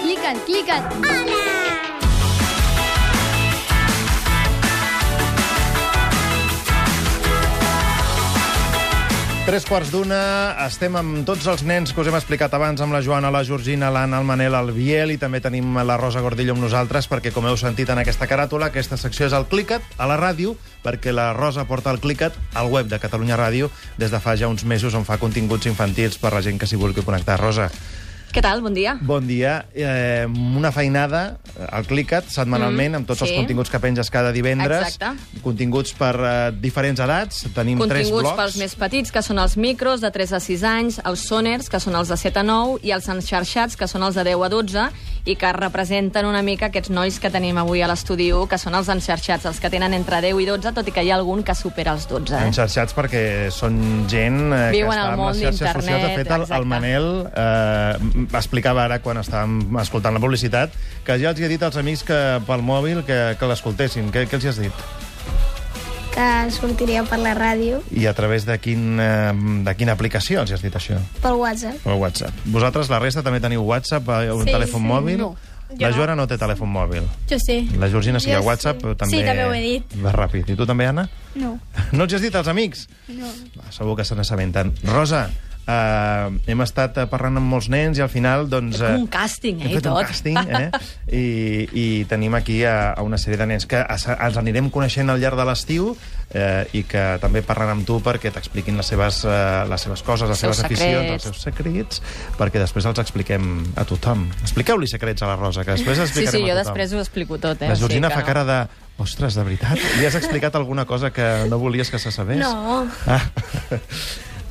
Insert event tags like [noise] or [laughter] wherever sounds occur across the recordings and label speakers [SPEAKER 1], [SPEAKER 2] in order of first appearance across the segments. [SPEAKER 1] clica't, clica't.
[SPEAKER 2] Tres quarts d'una, estem amb tots els nens que us hem explicat abans, amb la Joana, la Georgina, l'Anna, el Manel, el Biel, i també tenim la Rosa Gordillo amb nosaltres, perquè, com heu sentit en aquesta caràtula, aquesta secció és el Clicat a la ràdio, perquè la Rosa porta el Clicat al web de Catalunya Ràdio des de fa ja uns mesos, on fa continguts infantils per la gent que s'hi vulgui connectar. Rosa,
[SPEAKER 3] Què tal? Bon dia.
[SPEAKER 2] bon dia. Eh, una feinada al Clicat, setmanalment, amb tots els
[SPEAKER 3] Mm, sí.
[SPEAKER 2] continguts que penges cada divendres.
[SPEAKER 3] Exacte.
[SPEAKER 2] Continguts per eh, diferents edats. Tenim tres
[SPEAKER 3] Continguts
[SPEAKER 2] blocs.
[SPEAKER 3] pels més petits, que són els micros, de 3 a 6 anys, els soners, que són els de 7 a 9, i els enxarxats, que són els de 10 a 12, i que representen una mica aquests nois que tenim avui a l'estudi 1, que són els enxarxats, els que tenen entre 10 i 12, tot i que hi ha algun que supera els 12. Eh?
[SPEAKER 2] Enxarxats perquè són gent eh, que
[SPEAKER 3] Viuen
[SPEAKER 2] està
[SPEAKER 3] al
[SPEAKER 2] amb
[SPEAKER 3] món
[SPEAKER 2] les xarxes
[SPEAKER 3] d'internet,
[SPEAKER 2] socials. De fet, el, el
[SPEAKER 3] exacte.
[SPEAKER 2] Manel eh, explicava ara, quan estàvem escoltant la publicitat, que ja els hi he dit als amics que pel mòbil que, que l'escoltessin. Què, què els hi has dit?
[SPEAKER 4] que sortiria per la ràdio,
[SPEAKER 2] I a través de, quin, eh, de quina aplicació els hi has dit això?
[SPEAKER 4] pel WhatsApp.
[SPEAKER 2] O WhatsApp. Vosaltres, la resta, també teniu WhatsApp, eh, un
[SPEAKER 5] Sí,
[SPEAKER 2] telèfon
[SPEAKER 5] sí,
[SPEAKER 2] mòbil?
[SPEAKER 5] no.
[SPEAKER 2] La
[SPEAKER 5] Jo no.
[SPEAKER 2] Joana no té telèfon mòbil.
[SPEAKER 5] Jo sí.
[SPEAKER 2] La Georgina sí que
[SPEAKER 5] Jo
[SPEAKER 2] hi ha WhatsApp,
[SPEAKER 5] sí.
[SPEAKER 2] però també...
[SPEAKER 5] Sí, també ho he dit.
[SPEAKER 2] Va ràpid. I tu també, Anna? [laughs]
[SPEAKER 4] No.
[SPEAKER 2] No els has dit als amics?
[SPEAKER 4] No.
[SPEAKER 2] Va, segur que se n'assabenten. Rosa, eh, hem estat eh, parlant amb molts nens i al final, doncs...
[SPEAKER 3] He fet un càsting, eh,
[SPEAKER 2] Hem fet
[SPEAKER 3] i tot.
[SPEAKER 2] un càsting, eh?
[SPEAKER 3] [laughs]
[SPEAKER 2] I, i tenim aquí a, a una sèrie de nens que es, els anirem coneixent al llarg de l'estiu eh, i que també parlen amb tu perquè t'expliquin les, seves, eh, les seves coses, les
[SPEAKER 3] Els seus
[SPEAKER 2] seves aficions,
[SPEAKER 3] secrets.
[SPEAKER 2] els seus secrets, perquè després els expliquem a tothom. Expliqueu-li secrets a la Rosa, que després
[SPEAKER 3] Sí,
[SPEAKER 2] explicarem
[SPEAKER 3] sí, jo
[SPEAKER 2] a tothom.
[SPEAKER 3] després ho explico tot.
[SPEAKER 2] La
[SPEAKER 3] Eh? o sigui
[SPEAKER 2] Georgina fa
[SPEAKER 3] que no.
[SPEAKER 2] cara de... Ostres, de veritat? Li has explicat alguna cosa que no volies que se sabés?
[SPEAKER 4] No.
[SPEAKER 2] Ah.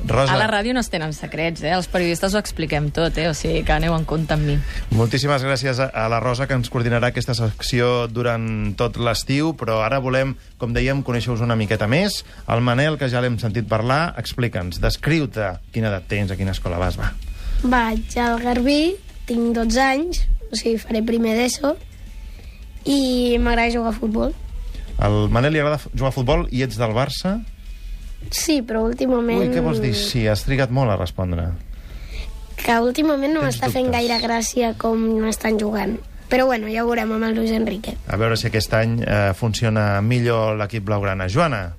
[SPEAKER 2] Rosa,
[SPEAKER 3] A la ràdio no es tenen secrets, eh? Els periodistes ho expliquem tot, eh? O sigui que aneu en compte amb mi.
[SPEAKER 2] moltíssimes gràcies a- a la Rosa, que ens coordinarà aquesta secció durant tot l'estiu, però ara volem, com dèiem, conèixer-vos una miqueta més. El Manel, que ja l'hem sentit parlar, explica'ns, descriu-te quina edat tens, a quina escola vas, va.
[SPEAKER 4] Vaig al Garbí, tinc 12 anys, o sigui, faré primer d'ESO, i m'agrada jugar a futbol.
[SPEAKER 2] Al Manel li agrada f- jugar a futbol i ets del Barça?
[SPEAKER 4] Sí, però últimament...
[SPEAKER 2] Ui, què vols dir? Sí, has trigat molt a respondre.
[SPEAKER 4] Que últimament no
[SPEAKER 2] Tens
[SPEAKER 4] m'està fent
[SPEAKER 2] dubtes.
[SPEAKER 4] gaire gràcia com estan jugant. Però bueno, ja ho veurem amb el Luis Enrique.
[SPEAKER 2] A veure si aquest any eh, funciona millor l'equip blaugrana. Joana,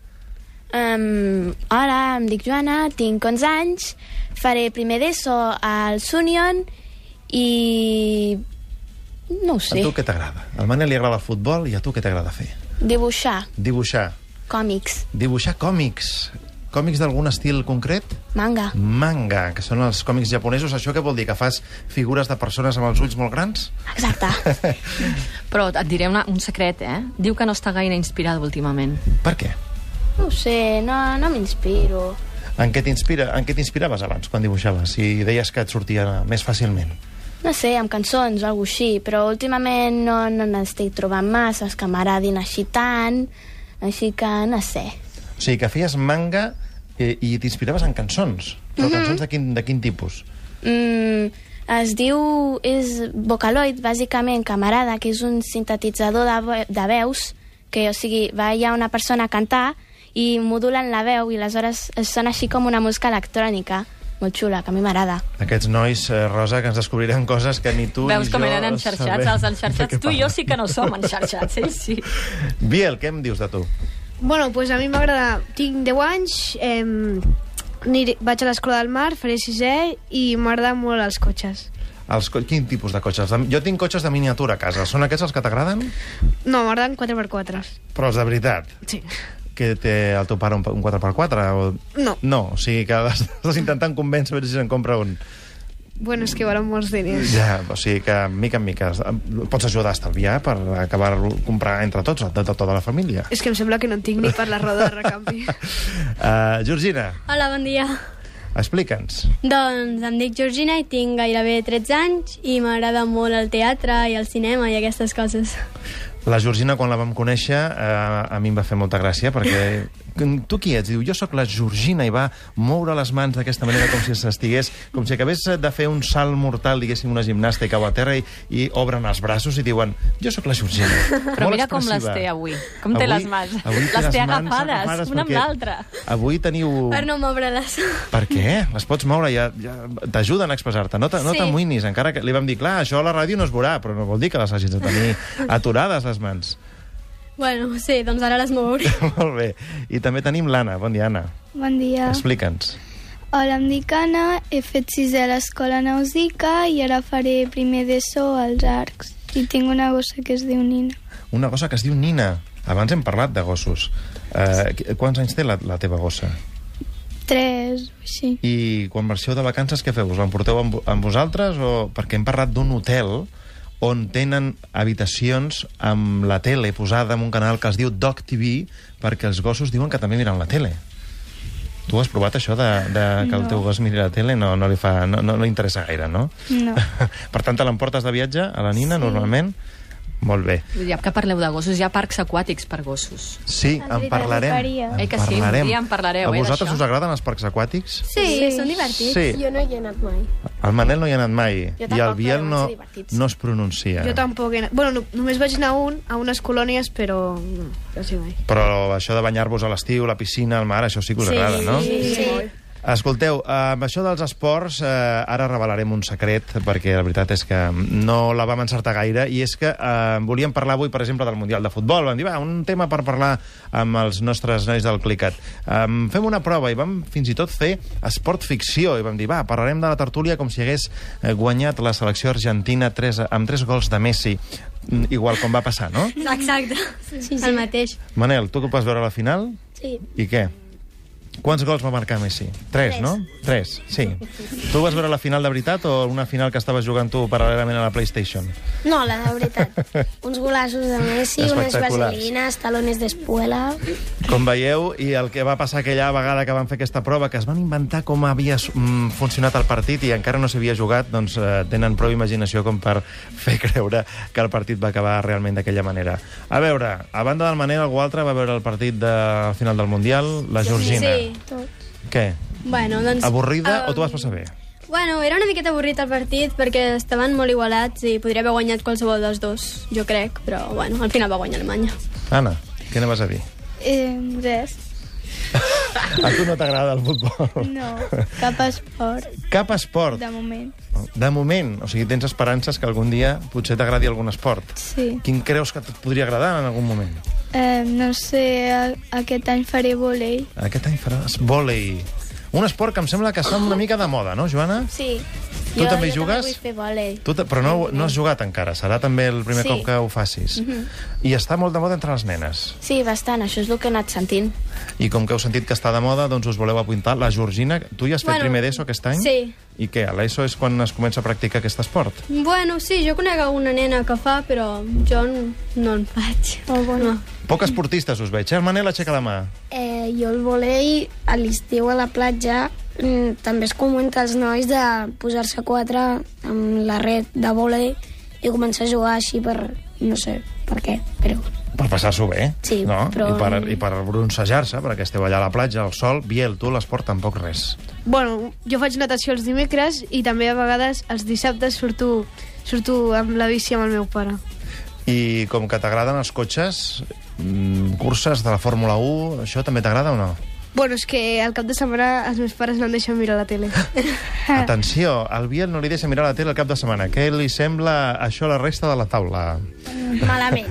[SPEAKER 5] Um, hola, em dic Joana, tinc 11 anys, faré primer d'ESO al Sunion i... no ho
[SPEAKER 2] A
[SPEAKER 5] sé,
[SPEAKER 2] tu què t'agrada? Al Manel li agrada el futbol i a tu què t'agrada fer?
[SPEAKER 5] dibuixar
[SPEAKER 2] Dibuixar.
[SPEAKER 5] còmics,
[SPEAKER 2] Dibuixar còmics. Còmics d'algun estil concret?
[SPEAKER 5] manga.
[SPEAKER 2] Manga, que són els còmics japonesos. Això què vol dir? Que fas figures de persones amb els ulls molt grans?
[SPEAKER 5] Exacte.
[SPEAKER 2] [laughs]
[SPEAKER 3] Però et diré una, un secret, eh? Diu que no està gaire inspirada últimament.
[SPEAKER 2] Per què?
[SPEAKER 5] No ho sé, no, no m'inspiro.
[SPEAKER 2] En què t'inspira en què t'inspiraves abans, quan dibuixaves? Si deies que et sortia més fàcilment.
[SPEAKER 5] No sé, amb cançons o alguna així, però últimament no, no n'estic trobant massa, que m'agradin així tant, així que no sé.
[SPEAKER 2] O sigui, que feies manga eh, i t'inspiraves en cançons.
[SPEAKER 3] Mhm.
[SPEAKER 2] Però cançons de quin, de quin tipus?
[SPEAKER 5] Mm, es diu... És Vocaloid, bàsicament, camarada, que és un sintetitzador de, ve- de veus, que, o sigui, va hi ha una persona a cantar i modulen la veu i aleshores es sona així com una música electrònica. Molt xula, que a mi m'agrada.
[SPEAKER 2] Aquests nois, eh, Rosa, que ens descobriran coses que ni tu
[SPEAKER 3] Veus
[SPEAKER 2] ni
[SPEAKER 3] com
[SPEAKER 2] jo
[SPEAKER 3] eren enxarxats,
[SPEAKER 2] sabem de [laughs]
[SPEAKER 3] els
[SPEAKER 2] què
[SPEAKER 3] enxarxats. Tu i jo
[SPEAKER 2] parlen.
[SPEAKER 3] sí que no som enxarxats, ells sí.
[SPEAKER 2] Biel, què em dius de tu?
[SPEAKER 6] Bueno, pues a mi m'agrada... Tinc 10 anys, em, aniré, vaig a l'escola del mar, faré sisè i m'agraden molt els cotxes.
[SPEAKER 2] Els, co- quin tipus de cotxes? De- Jo tinc cotxes de miniatura a casa. Són aquests els que t'agraden?
[SPEAKER 6] No, m'agraden 4x4.
[SPEAKER 2] Però els de veritat.
[SPEAKER 6] Sí.
[SPEAKER 2] Que té el teu pare un, pa- un 4x4? O...
[SPEAKER 6] No.
[SPEAKER 2] No, o sigui que [laughs] estàs intentant convèncer a veure si se'n compra un.
[SPEAKER 6] Bueno, és que valen molts diners.
[SPEAKER 2] Ja, o sigui que, mica en mica, es- pots ajudar a estalviar per acabar comprar entre tots, de, de tota la família.
[SPEAKER 6] És que em sembla que no en tinc ni per la roda de
[SPEAKER 2] [laughs]
[SPEAKER 6] recanvi.
[SPEAKER 2] Uh, Georgina,
[SPEAKER 7] Hola, bon dia.
[SPEAKER 2] explica'ns.
[SPEAKER 7] Doncs em dic Georgina i tinc gairebé 13 anys i m'agrada molt el teatre i el cinema i aquestes coses.
[SPEAKER 2] La Georgina, quan la vam conèixer, eh, a mi em va fer molta gràcia, perquè [laughs] tu qui ets? Diu, jo sóc la Georgina, i va moure les mans d'aquesta manera com si s'estigués, com si acabés de fer un salt mortal, diguéssim, una gimnasta i cau a terra i, i obren els braços i diuen, jo sóc la Georgina.
[SPEAKER 3] [laughs] Però
[SPEAKER 2] Molt
[SPEAKER 3] mira com les
[SPEAKER 2] expressiva.
[SPEAKER 3] té avui. Com té les mans.
[SPEAKER 2] avui
[SPEAKER 3] Les té
[SPEAKER 2] mans
[SPEAKER 3] agafades, una amb
[SPEAKER 2] perquè
[SPEAKER 3] l'altra.
[SPEAKER 2] Avui teniu...
[SPEAKER 7] Per no moure les...
[SPEAKER 2] Per què? Les pots moure, ja, ja t'ajuden a expressar-te. No, te- no
[SPEAKER 7] Sí.
[SPEAKER 2] t'amoïnis, encara que li vam dir, clar, això a la ràdio no es veurà, però no vol dir que les hagis de
[SPEAKER 7] [laughs]
[SPEAKER 2] tenir aturades, les mans.
[SPEAKER 7] [laughs] Bueno, sí, doncs ara les mouré.
[SPEAKER 2] [laughs] Molt bé. I també tenim l'Anna. Bon dia, Anna.
[SPEAKER 1] Bon dia.
[SPEAKER 2] Explica'ns.
[SPEAKER 1] Hola, em dic Anna, he fet sisè a l'escola Nausica i ara faré primer d'ESO als arcs. I tinc una gossa que es diu Nina.
[SPEAKER 2] Una gossa que es diu Nina. Abans hem parlat de gossos. Eh, qu- quants anys té la, la teva gossa?
[SPEAKER 1] Tres, o així.
[SPEAKER 2] I quan marxeu de vacances, què feu? Us l'emporteu amb, amb vosaltres? O... Perquè hem parlat d'un hotel on tenen habitacions amb la tele posada en un canal que es diu Doc TV perquè els gossos diuen que també miren la tele. Tu has provat això de, de que el teu gos miri la tele? No, no li, fa, no, no, no li interessa gaire, no?
[SPEAKER 1] No.
[SPEAKER 2] [laughs] per tant, te l'emportes de viatge a la Nina, sí. normalment? Molt bé.
[SPEAKER 3] Ja que parleu de gossos, hi ha parcs aquàtics per gossos.
[SPEAKER 2] Sí, en parlarem.
[SPEAKER 1] faria.
[SPEAKER 2] En
[SPEAKER 3] Eh que sí? Un
[SPEAKER 2] parlarem.
[SPEAKER 3] dia en parlareu,
[SPEAKER 2] A
[SPEAKER 3] eh,
[SPEAKER 2] vosaltres
[SPEAKER 3] d'això.
[SPEAKER 2] us agraden els parcs aquàtics?
[SPEAKER 7] Sí, són divertits.
[SPEAKER 2] Sí.
[SPEAKER 8] Jo no hi he anat mai.
[SPEAKER 2] El Manel no hi ha anat mai. I
[SPEAKER 8] Jo
[SPEAKER 2] el
[SPEAKER 8] tampoc,
[SPEAKER 2] Biel
[SPEAKER 8] però
[SPEAKER 2] no,
[SPEAKER 8] van ser divertits.
[SPEAKER 2] no es pronuncia.
[SPEAKER 6] Jo tampoc... He... anat- Bueno, no, només vaig anar a un, a unes colònies, però no, no sé mai.
[SPEAKER 2] Però això de banyar-vos a l'estiu, la piscina, el mar, això sí que us sí. agrada, no? Sí. Escolteu, eh, amb això dels esports, eh, ara revelarem un secret, perquè la veritat és que no la vam encertar gaire, i és que eh, volíem parlar avui, per exemple, del Mundial de Futbol. Vam dir, va, un tema per parlar amb els nostres nois del Clicat. Eh, fem una prova i vam fins i tot fer esport ficció, i vam dir, va, parlarem de la tertúlia com si hagués eh, guanyat la selecció argentina tres, amb tres gols de Messi, Mm, igual com va passar, no?
[SPEAKER 7] Exacte, sí, sí. el mateix.
[SPEAKER 2] Manel, tu que ho vas veure a la final?
[SPEAKER 4] Sí.
[SPEAKER 2] I què? Quants gols va marcar Messi? Tres, no? Tres, sí. Tu vas veure la final de veritat o una final que estaves jugant tu paral·lelament a la PlayStation?
[SPEAKER 4] No, la de veritat. Uns golassos de Messi, unes
[SPEAKER 2] Espectaculars.
[SPEAKER 4] vaselines, talones d'espuela...
[SPEAKER 2] Com veieu, i el que va passar aquella vegada que van fer aquesta prova, que es van inventar com havia mm, funcionat el partit i encara no s'havia jugat, doncs eh, tenen prou imaginació com per [laughs] fer creure que el partit va acabar realment d'aquella manera. A veure, a banda del Manel, algú altre va veure el partit de al final del Mundial, la Georgina.
[SPEAKER 7] Sí.
[SPEAKER 2] Què?
[SPEAKER 7] Bueno, doncs...
[SPEAKER 2] Avorrida
[SPEAKER 7] eh,
[SPEAKER 2] o t'ho vas passar bé?
[SPEAKER 7] Bueno, era una miqueta avorrit el partit perquè estaven molt igualats i podria haver guanyat qualsevol dels dos, jo crec, però bueno, al final va guanyar Alemanya.
[SPEAKER 2] Anna, què anaves a dir?
[SPEAKER 1] Eh, res.
[SPEAKER 2] A tu no t'agrada el
[SPEAKER 5] [laughs]
[SPEAKER 2] futbol. [laughs]
[SPEAKER 1] No, cap esport,
[SPEAKER 2] Cap esport.
[SPEAKER 1] de moment.
[SPEAKER 2] De moment. O sigui, tens esperances que algun dia potser t'agradi algun esport.
[SPEAKER 1] Sí.
[SPEAKER 2] Quin creus que et podria agradar en algun moment?
[SPEAKER 1] Eh, no sé, a- aquest any faré volei.
[SPEAKER 2] Aquest any faràs vòlei. Un esport que em sembla que està una mica de moda, no, Joana?
[SPEAKER 5] Sí.
[SPEAKER 2] Tu
[SPEAKER 5] jo,
[SPEAKER 2] també
[SPEAKER 5] jo
[SPEAKER 2] jugues?
[SPEAKER 5] També vull fer vòlei.
[SPEAKER 2] Tu te- però no, no has jugat encara, serà també el primer
[SPEAKER 5] Sí. Mhm.
[SPEAKER 2] cop que ho facis. I està molt de moda entre les nenes.
[SPEAKER 5] Sí, bastant, això és el que he anat sentint.
[SPEAKER 2] I com que heu sentit que està de moda, doncs us voleu apuntar. La Georgina, tu ja has fet
[SPEAKER 7] Bueno,
[SPEAKER 2] primer d'ESO aquest any?
[SPEAKER 7] sí.
[SPEAKER 2] I què, a l'ESO és quan es comença a practicar aquest esport?
[SPEAKER 7] Bueno, sí, jo conec alguna nena que fa, però jo n- no en faig. Oh, bueno. No.
[SPEAKER 2] Poc esportistes us veig, eh? El Manel aixeca la mà.
[SPEAKER 4] Eh, jo el volei a l'estiu a la platja mm, també es comú entre els nois de posar-se quatre amb la red de volei i començar a jugar així per... no sé per què, però...
[SPEAKER 2] Per passar-s'ho bé,
[SPEAKER 4] Sí,
[SPEAKER 2] no?
[SPEAKER 4] però-
[SPEAKER 2] I per, i per broncejar-se, perquè esteu allà a la platja, al sol. Biel, tu l'esport tampoc res.
[SPEAKER 6] Bueno, jo faig natació els dimecres i també a vegades els dissabtes surto, surto amb la bici amb el meu pare.
[SPEAKER 2] I com que t'agraden els cotxes, mm, curses de la Fórmula 1, això també t'agrada o no?
[SPEAKER 6] Bueno, és que al cap de setmana els meus pares no em deixen mirar la tele. [laughs] Eh.
[SPEAKER 2] Atenció, al Biel no li deixa mirar la tele el cap de setmana. Què li sembla això a la resta de la taula?
[SPEAKER 6] Mm,
[SPEAKER 2] [laughs]
[SPEAKER 4] Malament.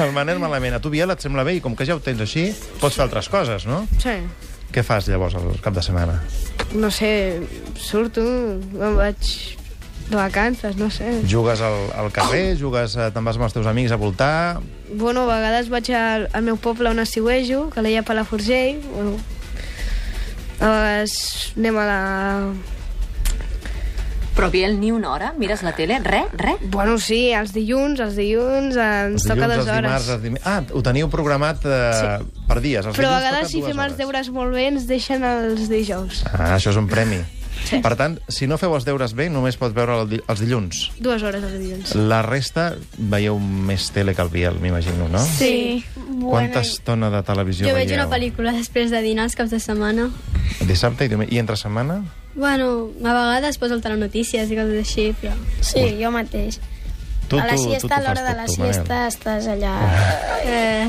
[SPEAKER 2] El Manel malament. A tu, Biel, et sembla bé i com que ja ho tens així, pots fer altres coses, no?
[SPEAKER 6] Sí.
[SPEAKER 2] Què fas llavors al cap de setmana?
[SPEAKER 6] No sé, surto, me'n vaig de vacances, no sé.
[SPEAKER 2] Jugues al, al carrer,
[SPEAKER 6] Oh!
[SPEAKER 2] jugues, eh, te'n vas amb els teus amics a voltar...
[SPEAKER 6] Bueno, a vegades vaig al, al meu poble on estiuejo, que l'hi ha a Palafrugell. Bueno, a vegades anem a la...
[SPEAKER 3] Però Biel, ni una hora, mires la tele, re, re.
[SPEAKER 6] Bueno, sí, els dilluns, els dilluns, ens
[SPEAKER 2] Els
[SPEAKER 6] toca
[SPEAKER 2] dilluns,
[SPEAKER 6] dues
[SPEAKER 2] els dimarts,
[SPEAKER 6] hores.
[SPEAKER 2] els dimarts... Ah, ho teniu programat eh, sí. per dies. Els
[SPEAKER 6] Però a
[SPEAKER 2] dilluns
[SPEAKER 6] vegades
[SPEAKER 2] toca
[SPEAKER 6] si
[SPEAKER 2] dues
[SPEAKER 6] fem els
[SPEAKER 2] hores.
[SPEAKER 6] deures molt bé ens deixen els dijous.
[SPEAKER 2] Ah, això és un premi. Sí. Per tant, si no feu els deures bé, només pots veure el di- els dilluns.
[SPEAKER 6] Dues hores els dilluns.
[SPEAKER 2] La resta veieu més tele que el Biel, m'imagino, no?
[SPEAKER 5] Sí.
[SPEAKER 2] Quanta estona de televisió
[SPEAKER 7] Jo
[SPEAKER 2] veieu?
[SPEAKER 7] veig una pel·lícula després de dinar els caps de setmana.
[SPEAKER 2] Dissabte i diumenge. I entre setmana?
[SPEAKER 7] Bueno, a vegades poso el telenotícies i coses així, però...
[SPEAKER 4] Sí, jo mateix.
[SPEAKER 2] Tu,
[SPEAKER 4] a la
[SPEAKER 2] tu- tu
[SPEAKER 4] siesta,
[SPEAKER 2] t'ho
[SPEAKER 4] a l'hora
[SPEAKER 2] fas
[SPEAKER 4] de
[SPEAKER 2] tot
[SPEAKER 4] la
[SPEAKER 2] tu, Manel.
[SPEAKER 4] siesta, estàs allà...
[SPEAKER 2] [laughs]
[SPEAKER 7] Eh,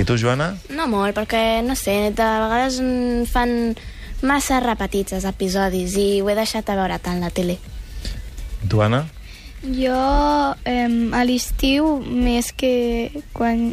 [SPEAKER 2] I tu, Joana?
[SPEAKER 5] No molt, perquè, no sé, de vegades mm, fan massa repetits els episodis i ho he deixat a veure tant la tele.
[SPEAKER 2] Tu, Anna?
[SPEAKER 1] Jo eh, a l'estiu, més que quan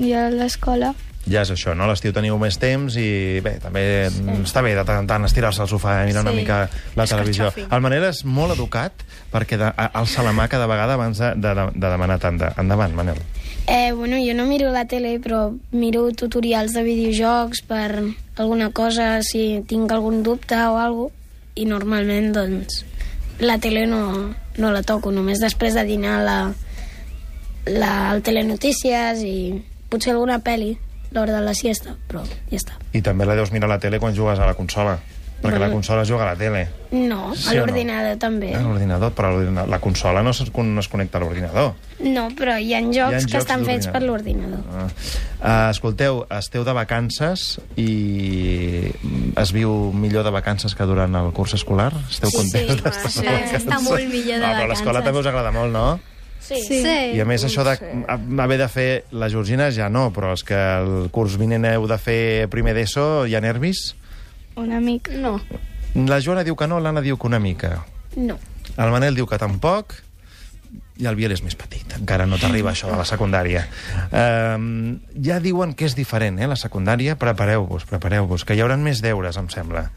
[SPEAKER 1] hi ha l'escola,
[SPEAKER 2] Ja és això, no? A l'estiu teniu més temps i bé, també sí. està bé de tant en tant estirar-se al sofà i mirar sí. una
[SPEAKER 7] Sí.
[SPEAKER 2] mica la televisió.
[SPEAKER 7] Escarxofi.
[SPEAKER 2] El Manel és molt educat perquè de, a- alça la mà cada vegada abans de, de, de demanar tant de... Endavant, Manel.
[SPEAKER 4] Eh, bueno, jo no miro la tele, però miro tutorials de videojocs per alguna cosa, si tinc algun dubte o alguna i normalment, doncs, la tele no, no la toco, només després de dinar la, la, el telenotícies i potser alguna pel·li l'hora de la siesta, però ja està.
[SPEAKER 2] I també la deus mirar a la tele quan jugues a la consola, perquè la
[SPEAKER 7] Mm.
[SPEAKER 2] consola es juga a la tele.
[SPEAKER 4] No, Ah,
[SPEAKER 2] Sí
[SPEAKER 4] a
[SPEAKER 2] o no?
[SPEAKER 4] l'ordinador també.
[SPEAKER 2] A l'ordinador, però a l'ordina- la consola no, es, no es connecta a l'ordinador.
[SPEAKER 4] No, però hi ha jocs, hi ha
[SPEAKER 2] jocs
[SPEAKER 4] jocs que estan fets per l'ordinador.
[SPEAKER 2] Ah. Uh, escolteu, esteu de vacances i mm, es viu millor de vacances que durant el curs escolar? Esteu
[SPEAKER 7] Sí,
[SPEAKER 2] contents?
[SPEAKER 7] sí,
[SPEAKER 2] d'estar de
[SPEAKER 7] clar,
[SPEAKER 2] vacances?
[SPEAKER 7] està molt millor de
[SPEAKER 2] Ah, però l'escola
[SPEAKER 7] vacances. Eh,
[SPEAKER 2] també us agrada molt, no?
[SPEAKER 7] sí. sí.
[SPEAKER 2] I a més, això de a- haver de fer la Georgina ja no, però és que el curs vinent heu de fer primer d'ESO, hi ha nervis?
[SPEAKER 1] una mica.
[SPEAKER 5] No.
[SPEAKER 2] La Joana diu que no, l'Anna diu que una mica.
[SPEAKER 4] No.
[SPEAKER 2] El Manel diu que tampoc, i el Biel és més petit. Encara no t'arriba això de la secundària. Um, ja diuen que és diferent, eh, la secundària. Prepareu-vos, prepareu-vos, que hi hauran més deures, em sembla.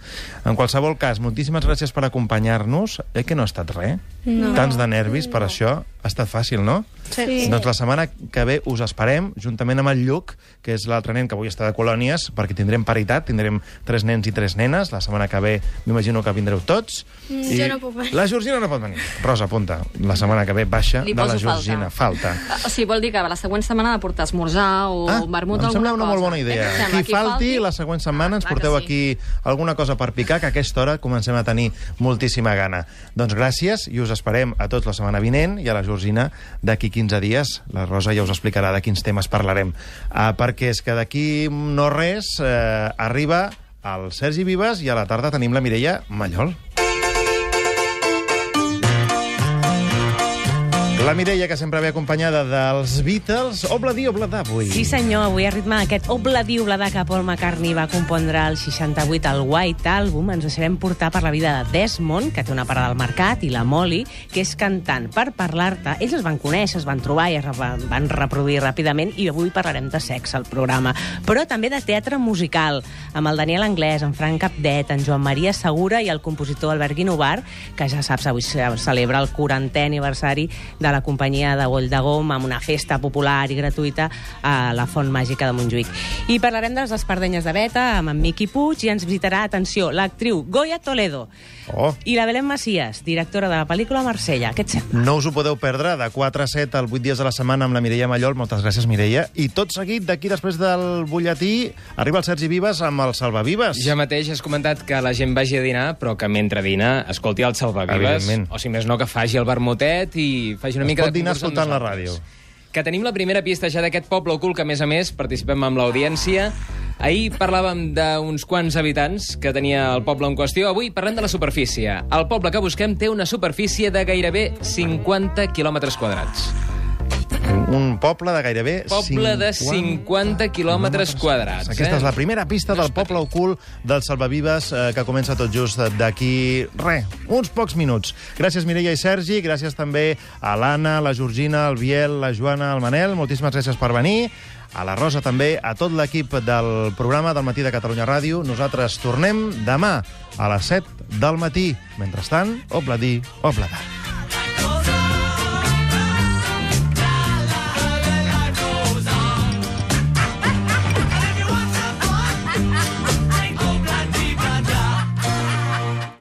[SPEAKER 2] En qualsevol cas, moltíssimes gràcies per acompanyar-nos. Eh que no ha estat res? No. Tants de nervis per això. Ha estat fàcil, no? Sí. Doncs la setmana que ve us esperem, juntament amb el Lluc, que és l'altre nen que avui està de colònies, perquè tindrem paritat, tindrem tres nens i tres nenes. La setmana que ve m'imagino que vindreu tots. Mm, I
[SPEAKER 7] jo no puc venir.
[SPEAKER 2] La Georgina no pot venir. Rosa, apunta. La setmana que ve baixa
[SPEAKER 3] Li
[SPEAKER 2] de la
[SPEAKER 3] poso falta.
[SPEAKER 2] Georgina. Falta. falta.
[SPEAKER 3] Ah, O sigui, vol dir que la següent setmana ha de portar esmorzar o
[SPEAKER 2] Ah,
[SPEAKER 3] ah, vermut o
[SPEAKER 2] em sembla
[SPEAKER 3] alguna
[SPEAKER 2] una
[SPEAKER 3] cosa.
[SPEAKER 2] molt bona idea.
[SPEAKER 3] Em sembla, Ah,
[SPEAKER 2] Qui falti, la següent setmana ens
[SPEAKER 3] clar que
[SPEAKER 2] porteu
[SPEAKER 3] sí.
[SPEAKER 2] aquí alguna cosa per picar, que a aquesta hora comencem a tenir moltíssima gana. Doncs gràcies i us esperem a tots la setmana vinent i a la Georgina d'aquí 15 dies. La Rosa ja us explicarà de quins temes parlarem. Ah, perquè és que d'aquí no res eh, arriba el Sergi Vives i a la tarda tenim la Mireia Mallol. La Mireia, que sempre ve acompanyada dels Beatles, obla di, obla d'avui.
[SPEAKER 8] Sí, senyor, avui a ritme d'aquest obladi oblada que Paul McCartney va compondre el 68 al White Album, ens deixarem portar per la vida de Desmond, que té una parada al mercat, i la Molly, que és cantant per parlar-te. Ells es van conèixer, es van trobar i es va- van reproduir ràpidament, i avui parlarem de sexe al programa. Però també de teatre musical, amb el Daniel Anglès, en Frank Capdet, en Joan Maria Segura i el compositor Albert Guinovar, que ja saps, avui se celebra el 40è aniversari de la companyia de Goll de Gom amb una festa popular i gratuïta a la Font Màgica de Montjuïc. I parlarem de les espardenyes de Beta amb en Miqui Puig i ens visitarà, atenció, l'actriu Goya Toledo
[SPEAKER 2] Oh.
[SPEAKER 8] i la Belén Macías, directora de la pel·lícula Marsella. Què et sembla?
[SPEAKER 2] No us ho podeu perdre, de 4 a 7 al 8 dies de la setmana amb la Mireia Mallol. Moltes gràcies, Mireia. I tot seguit, d'aquí després del butlletí, arriba el Sergi Vives amb el Salvavives.
[SPEAKER 9] Ja mateix has comentat que la gent vagi a dinar, però que mentre dina escolti el salvavives,
[SPEAKER 2] Evidentment.
[SPEAKER 9] o si més no, que faci el vermutet i faci una
[SPEAKER 2] Es
[SPEAKER 9] mica
[SPEAKER 2] pot
[SPEAKER 9] de
[SPEAKER 2] dinar
[SPEAKER 9] concurs amb
[SPEAKER 2] escoltant la
[SPEAKER 9] nosaltres.
[SPEAKER 2] ràdio.
[SPEAKER 9] Que tenim la primera pista ja d'aquest poble ocult, que a més a més participem amb l'audiència. Ahir parlàvem d'uns quants habitants que tenia el poble en qüestió. Avui parlem de la superfície. El poble que busquem té una superfície de gairebé 50 quilòmetres quadrats.
[SPEAKER 2] Un poble de gairebé...
[SPEAKER 9] Poble de 50 quilòmetres quadrats.
[SPEAKER 2] Aquesta
[SPEAKER 9] eh?
[SPEAKER 2] és la primera pista del poble ocult del Salvavives eh, que comença tot just d'aquí, re, uns pocs minuts. Gràcies Mireia i Sergi, gràcies també a l'Anna, la Georgina, el Biel, la Joana, el Manel, moltíssimes gràcies per venir a la Rosa també, a tot l'equip del programa del Matí de Catalunya Ràdio. Nosaltres tornem demà a les 7 del matí. Mentrestant, obladí, obladar.